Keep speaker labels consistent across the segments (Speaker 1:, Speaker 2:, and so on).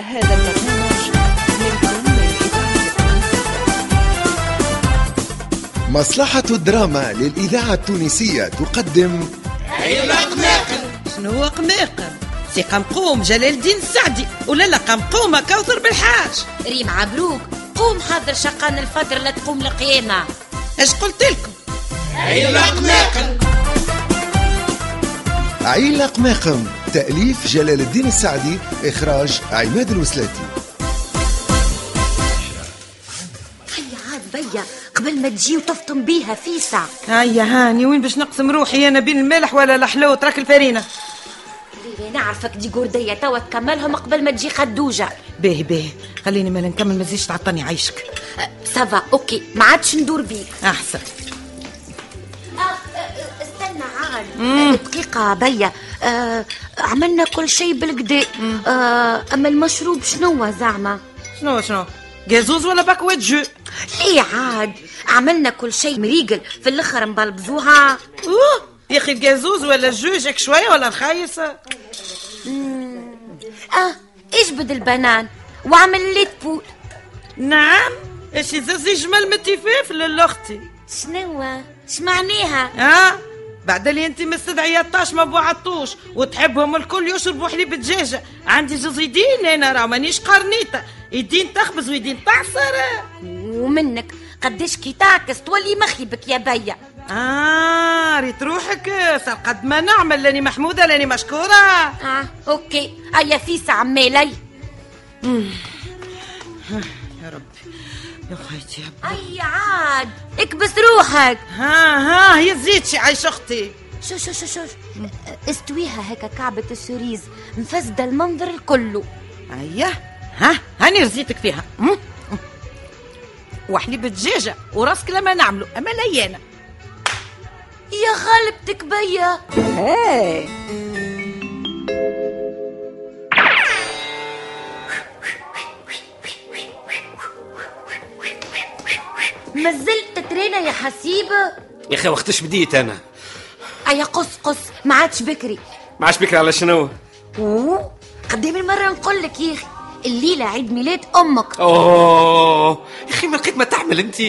Speaker 1: هذا البرنامج ملك من إذاعة
Speaker 2: مصلحة الدراما للإذاعة التونسية تقدم
Speaker 3: شنو هو قماقم سي قمقوم جلال الدين السعدي ولا لا قمقومة كوثر بالحاج
Speaker 4: ريم عبروك قوم حضر شقان الفطر لا تقوم القيامة
Speaker 3: اش قلت لكم
Speaker 2: عيلق ماقم تأليف جلال الدين السعدي إخراج عماد الوسلاتي
Speaker 4: هيا عاد بيا قبل ما تجي وتفطم بيها فيسع
Speaker 3: هيا هاني وين باش نقسم روحي انا بين المالح ولا الحلو ترك الفرينه
Speaker 4: ليلي نعرفك دي قردية توا تكملهم قبل ما تجي خدوجة
Speaker 3: باهي باهي خليني ما نكمل ما تزيدش تعطني عيشك
Speaker 4: سافا اوكي ما عادش ندور بيك
Speaker 3: احسن
Speaker 4: آه، استنى عاد دقيقة بيا آه عملنا كل شيء بالكدا آه اما المشروب شنو زعما
Speaker 3: شنو شنو جازوز ولا باكوات جو
Speaker 4: ليه عاد عملنا كل شيء مريقل في الاخر مبلبزوها
Speaker 3: اوه يا اخي الجازوز ولا الجو جاك شويه ولا نخيص
Speaker 4: اه اجبد البنان وعمل ليت بول
Speaker 3: نعم اش زوز جمل متفاف للاختي
Speaker 4: شنو شمعناها
Speaker 3: ها بعد اللي انت مستدعيه الطاش ما بوعطوش وتحبهم الكل يشربوا حليب دجاجه عندي جوز يدين انا راه مانيش قرنيطه يدين تخبز ويدين تعصر
Speaker 4: ومنك قداش كي تعكس تولي مخيبك يا بيا
Speaker 3: اه ريت روحك صار قد ما نعمل لاني محموده لاني مشكوره
Speaker 4: اه اوكي هيا فيس عمالي
Speaker 3: يا ربي يا خيتي يا ربي.
Speaker 4: هيا عاد اكبس روحك
Speaker 3: ها ها هي زيت شي عايش اختي
Speaker 4: شو شو شو شو استويها هكا كعبة السوريز مفسدة المنظر الكل
Speaker 3: هيا ها هاني رزيتك فيها مم. وحليب دجاجه وراسك لما نعملو اما ليانا
Speaker 4: يا غلبتك بيا مازلت تترينا يا حسيبة
Speaker 5: يا اخي وقتاش بديت انا
Speaker 4: أيا قص قص ما عادش بكري
Speaker 5: ما عادش بكري على شنو
Speaker 4: اوه قدام المرة نقول لك يا أخي الليلة عيد ميلاد أمك
Speaker 5: اوه يا اخي من قد ما تعمل انت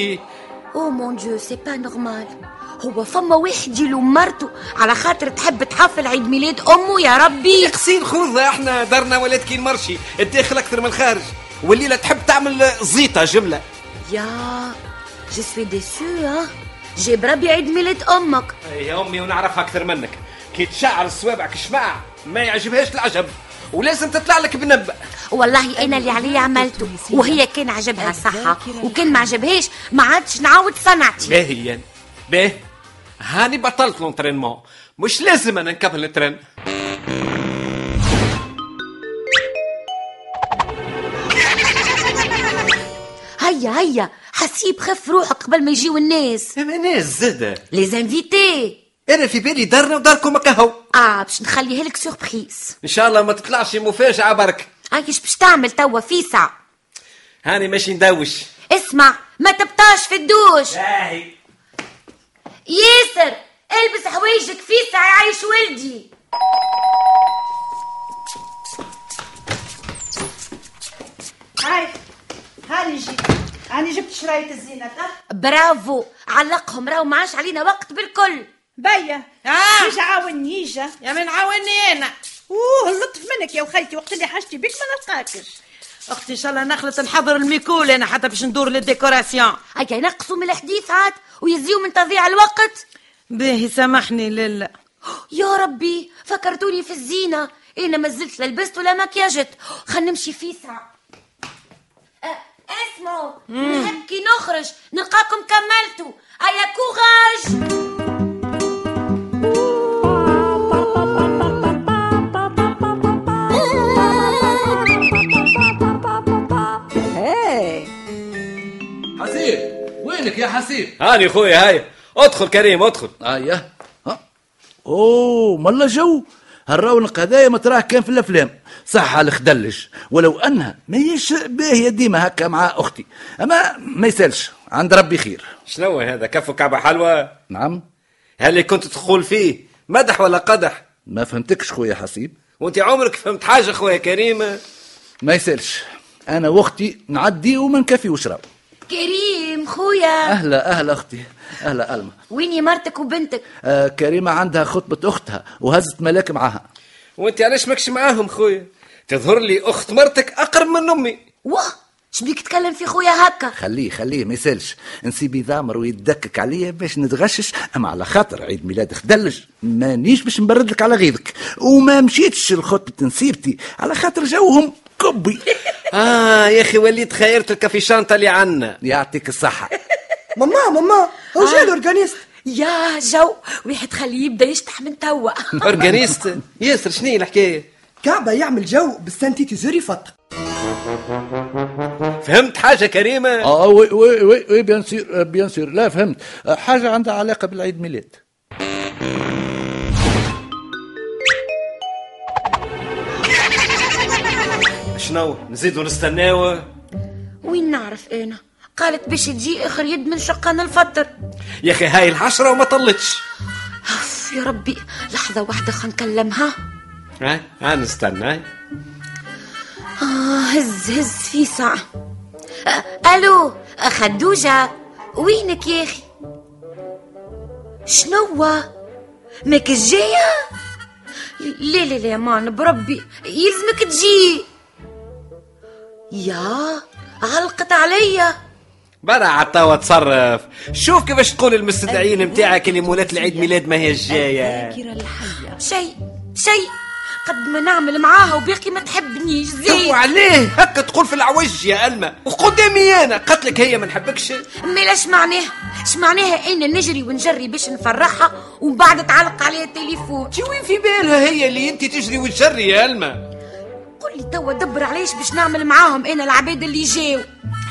Speaker 4: او مون ديو سي با نورمال هو فما واحد يلوم مرته على خاطر تحب تحفل عيد ميلاد امه يا ربي
Speaker 5: قصير خوذة احنا دارنا ولاد كي مرشي الداخل اكثر من الخارج والليله تحب تعمل زيطه جمله
Speaker 4: يا جو سوي ديسو ها جيب ربي عيد ميلاد امك
Speaker 5: يا امي ونعرفها اكثر منك كي تشعر صوابعك شماع ما يعجبهاش العجب ولازم تطلع لك بنب
Speaker 4: والله انا اللي علي عملته وهي كان عجبها صحة وكان ما عجبهاش ما عادش نعاود صنعتي
Speaker 5: باهيا باه هاني بطلت لونترينمون مش لازم انا نكمل الترن
Speaker 4: هيا هيا حسيب خف روحك قبل ما يجيو الناس
Speaker 5: انا زاده
Speaker 4: لي زانفيتي
Speaker 5: انا في بالي دارنا وداركم كهو
Speaker 4: اه باش نخليها لك سوربريز
Speaker 5: ان شاء الله ما تطلعش مفاجاه برك
Speaker 4: هاكش باش تعمل توا فيسع
Speaker 5: هاني ماشي ندوش
Speaker 4: اسمع ما تبطاش في الدوش
Speaker 5: باهي
Speaker 4: ياسر البس حوايجك في ساعة يعيش ولدي
Speaker 3: هاي هاني جيت هاني جبت شرايط الزينة تا
Speaker 4: برافو علقهم راهو ما عاش علينا وقت بالكل
Speaker 6: بيا
Speaker 3: آه.
Speaker 6: نيجا عاوني يجا
Speaker 3: يا من عاوني انا
Speaker 6: اوه اللطف منك يا وخيتي وقت اللي حاجتي بك ما نلقاكش
Speaker 3: اختي ان شاء الله نخلط نحضر الميكول انا حتى باش ندور للديكوراسيون
Speaker 4: هكا ينقصوا من الحديث عاد ويزيو من تضييع الوقت
Speaker 3: باهي سامحني للا
Speaker 4: يا ربي فكرتوني في الزينة انا ما زلت لا لبست ولا مكياجت خلينا نمشي في ساعة أه، اسمعوا نحب كي نخرج نلقاكم كملتوا هيا كوراج
Speaker 7: حسيب وينك يا حسيب
Speaker 5: هاني خويا هاي ادخل كريم ادخل
Speaker 7: ايوه ها اوه ملا جو هالرونق هذايا ما تراه كان في الافلام صح على الخدلش ولو انها ماهيش باهيه ديما هكا مع اختي اما ما يسالش عند ربي خير
Speaker 5: شنو هذا كف كعبه حلوه
Speaker 7: نعم
Speaker 5: هل كنت تقول فيه مدح ولا قدح
Speaker 7: ما فهمتكش خويا حسيب
Speaker 5: وانت عمرك فهمت حاجه خويا كريم
Speaker 7: ما يسالش انا واختي نعدي وما نكفيوش راهو
Speaker 4: كريم خويا
Speaker 7: اهلا اهلا اختي اهلا الما
Speaker 4: ويني مرتك وبنتك
Speaker 7: آه كريمه عندها خطبه اختها وهزت ملاك معاها
Speaker 5: وانت علاش ماكش معاهم خويا تظهر لي اخت مرتك اقرب من امي
Speaker 4: واه شبيك تكلم في خويا هكا
Speaker 7: خليه خليه ما يسالش نسيب يضامر ويدكك عليا باش نتغشش اما على خاطر عيد ميلاد خدلج مانيش باش نبرد لك على غيظك وما مشيتش لخطبه نسيبتي على خاطر جوهم كبي
Speaker 5: اه يا اخي وليت خيرت الكافيشانتا اللي عنا
Speaker 7: يعطيك الصحه
Speaker 8: ماما ماما هو جا الاورجانيست
Speaker 4: يا جو واحد خليه يبدا يشطح من توا
Speaker 5: اورجانيست ياسر شنو الحكايه
Speaker 8: كعبه يعمل جو بالسانتيتيزور يفطر
Speaker 5: فهمت حاجه كريمه
Speaker 7: اه وي وي وي, وي بيان سير آه، بيان سير لا فهمت آه، حاجه عندها علاقه بالعيد ميلاد
Speaker 5: شنو نزيدو نستناو
Speaker 4: وين نعرف انا قالت باش تجي اخر يد من شقنا الفطر
Speaker 5: يا اخي هاي العشره وما طلتش
Speaker 4: أف يا ربي لحظه واحده خنكلمها
Speaker 5: ها ها نستنى
Speaker 4: آه هز هز في ساعه آه الو آه، خدوجه وينك يا اخي شنو ماك جايه لا لا لا يا مان بربي يلزمك تجي يا علقت عليا
Speaker 5: برا عطاوة تصرف شوف كيفاش تقول المستدعين نتاعك اللي مولات العيد ميلاد ما هي جايه
Speaker 4: شيء شيء قد ما نعمل معاها وباقي ما تحبنيش زين
Speaker 5: وعليه هكا تقول في العوج يا ألما وقدامي أنا قتلك هي ما نحبكش
Speaker 4: مي لاش معناها اش معناها انا نجري ونجري باش نفرحها ومن بعد تعلق عليها التليفون
Speaker 5: تي وين في بالها هي اللي انت تجري وتجري يا ألما
Speaker 4: قول لي توا دبر علاش باش نعمل معاهم انا العباد اللي جاو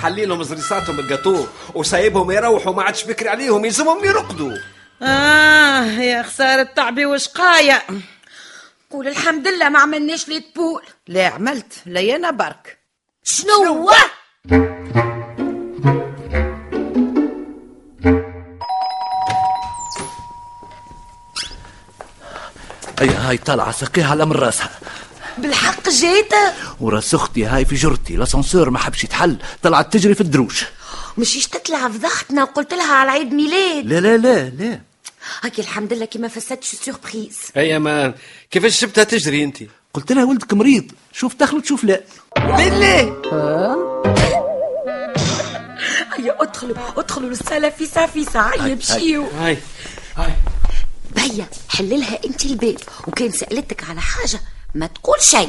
Speaker 5: حليلهم زريصاتهم الجاتو وسايبهم يروحوا ما عادش بكري عليهم يلزمهم يرقدوا
Speaker 3: آه يا خسارة تعبي وشقاية
Speaker 4: قول الحمد لله ما عملناش لي تبول
Speaker 1: لا عملت لا انا برك
Speaker 4: شنو هو
Speaker 7: هي هاي طالعه ساقيها على من راسها
Speaker 4: بالحق جيت
Speaker 7: وراس اختي هاي في جرتي لاسانسور ما حبش يتحل طلعت تجري في الدروج
Speaker 4: مشيش تطلع فضحتنا وقلت لها على عيد ميلاد
Speaker 7: لا لا لا لا
Speaker 4: هاكي الحمد لله كي ما فسدتش سوربريز
Speaker 5: هي ما كيفاش شفتها تجري انت
Speaker 7: قلت لها ولدك مريض شوف تخلط شوف لا
Speaker 5: بالله
Speaker 4: هيا أيوة، ادخلوا ادخلوا للصاله فيسا فيسا هيا أيوة، مشيو
Speaker 5: هاي هاي
Speaker 4: بيا حللها انت الباب وكان سالتك على حاجه ما تقول شيء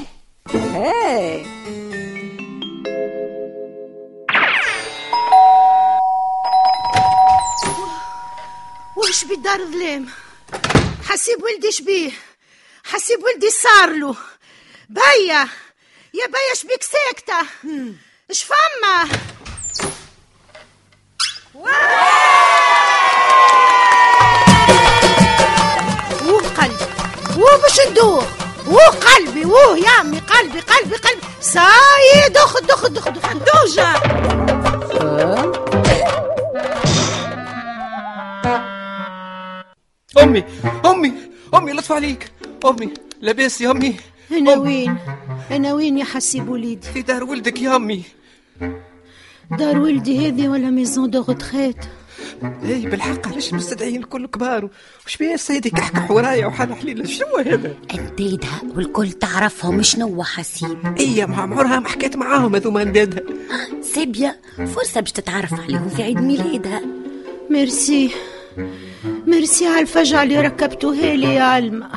Speaker 6: وش بالدار ظلام حسيب ولدي شبيه حسيب ولدي صار له بيا يا بيا شبيك ساكتة اش فما ووه قلبي ووه باش ندور ووه قلبي ووه يا امي قلبي قلبي قلبي سايد اخد اخد اخد خدوجه
Speaker 5: امي امي امي لطف عليك امي لاباس يا امي
Speaker 6: انا
Speaker 5: أم.
Speaker 6: وين انا وين يا حسيب وليدي
Speaker 5: في دار ولدك يا امي
Speaker 6: دار ولدي هذه ولا ميزون دو غوتخيت
Speaker 5: اي إيه، بالحق علاش مستدعين الكل كبار وش بيه السيد يكحكح ورايا وحال حليله شنو هذا
Speaker 4: أندادها ايه والكل تعرفهم شنو حسيب
Speaker 5: اي مع عمرها ما حكيت معاهم هذوما اندادها
Speaker 4: سيبيا فرصة باش تتعرف عليهم في عيد ميلادها
Speaker 6: ميرسي ميرسي على الفجعة اللي ركبتوها لي يا علمة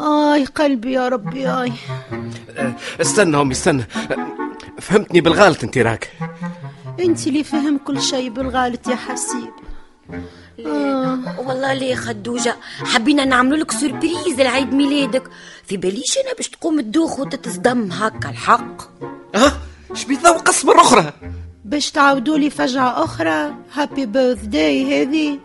Speaker 6: آي قلبي يا ربي آي
Speaker 5: استنى امي استنى فهمتني بالغلط انت راك
Speaker 6: انت اللي فهم كل شيء بالغالط يا حسيب
Speaker 4: والله ليه خدوجة حبينا نعملوا لك سوربريز لعيد ميلادك في باليش أنا باش تقوم تدوخ وتتصدم هكا الحق
Speaker 5: اه شبي ذوقص مره اخرى
Speaker 6: باش تعاودوا لي فجعة أخرى هابي بيرث داي هذه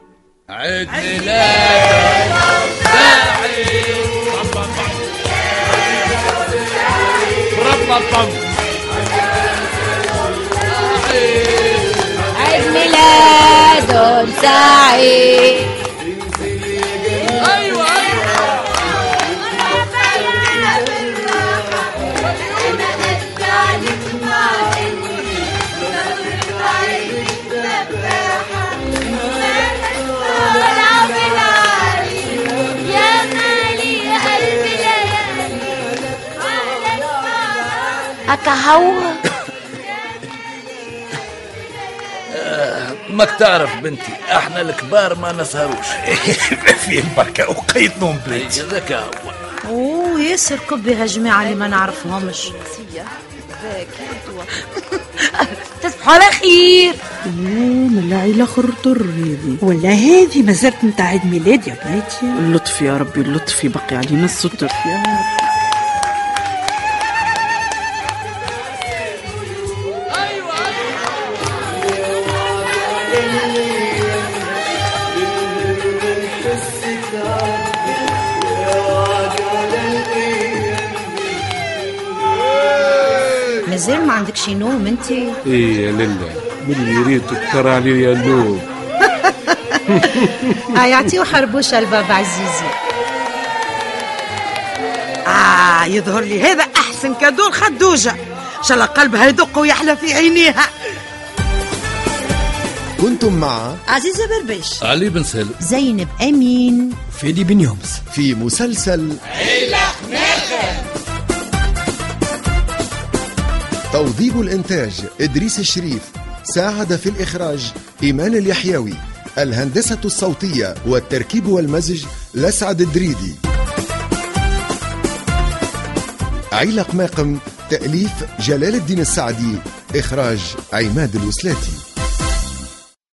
Speaker 4: عيد ميلاد سعيد ايوه ايوه هكا هو
Speaker 7: ماك تعرف بنتي احنا الكبار ما نسهروش
Speaker 9: فيه البركة وقيت نوم بلادي
Speaker 7: هذاك هو
Speaker 6: اوه ياسر كبي هالجماعه اللي ما نعرفهمش
Speaker 4: تصبحوا على خير
Speaker 10: من العيلة خرطر هذي
Speaker 11: ولا هذه ما زالت نتاع عيد ميلاد يا بناتي
Speaker 10: اللطف يا ربي اللطف يبقي علينا الستر يا رب.
Speaker 6: مازال ما عندك شي نوم انت
Speaker 9: ايه يا للا من ريتك ترى علي اللوم
Speaker 6: آه، يعطيو حربوشه البابا عزيزي
Speaker 3: آه يظهر لي هذا أحسن كادو الخدوجة إن شاء الله قلبها يدق ويحلى في عينيها
Speaker 2: كنتم مع
Speaker 6: عزيزه بربيش
Speaker 7: علي بن سالم
Speaker 6: زينب امين
Speaker 8: فيدي بن يومس
Speaker 2: في مسلسل عيلة توظيف الإنتاج إدريس الشريف ساعد في الإخراج إيمان اليحيوي الهندسة الصوتية والتركيب والمزج لسعد الدريدي عيلق ماقم تأليف جلال الدين السعدي إخراج عماد الوسلاتي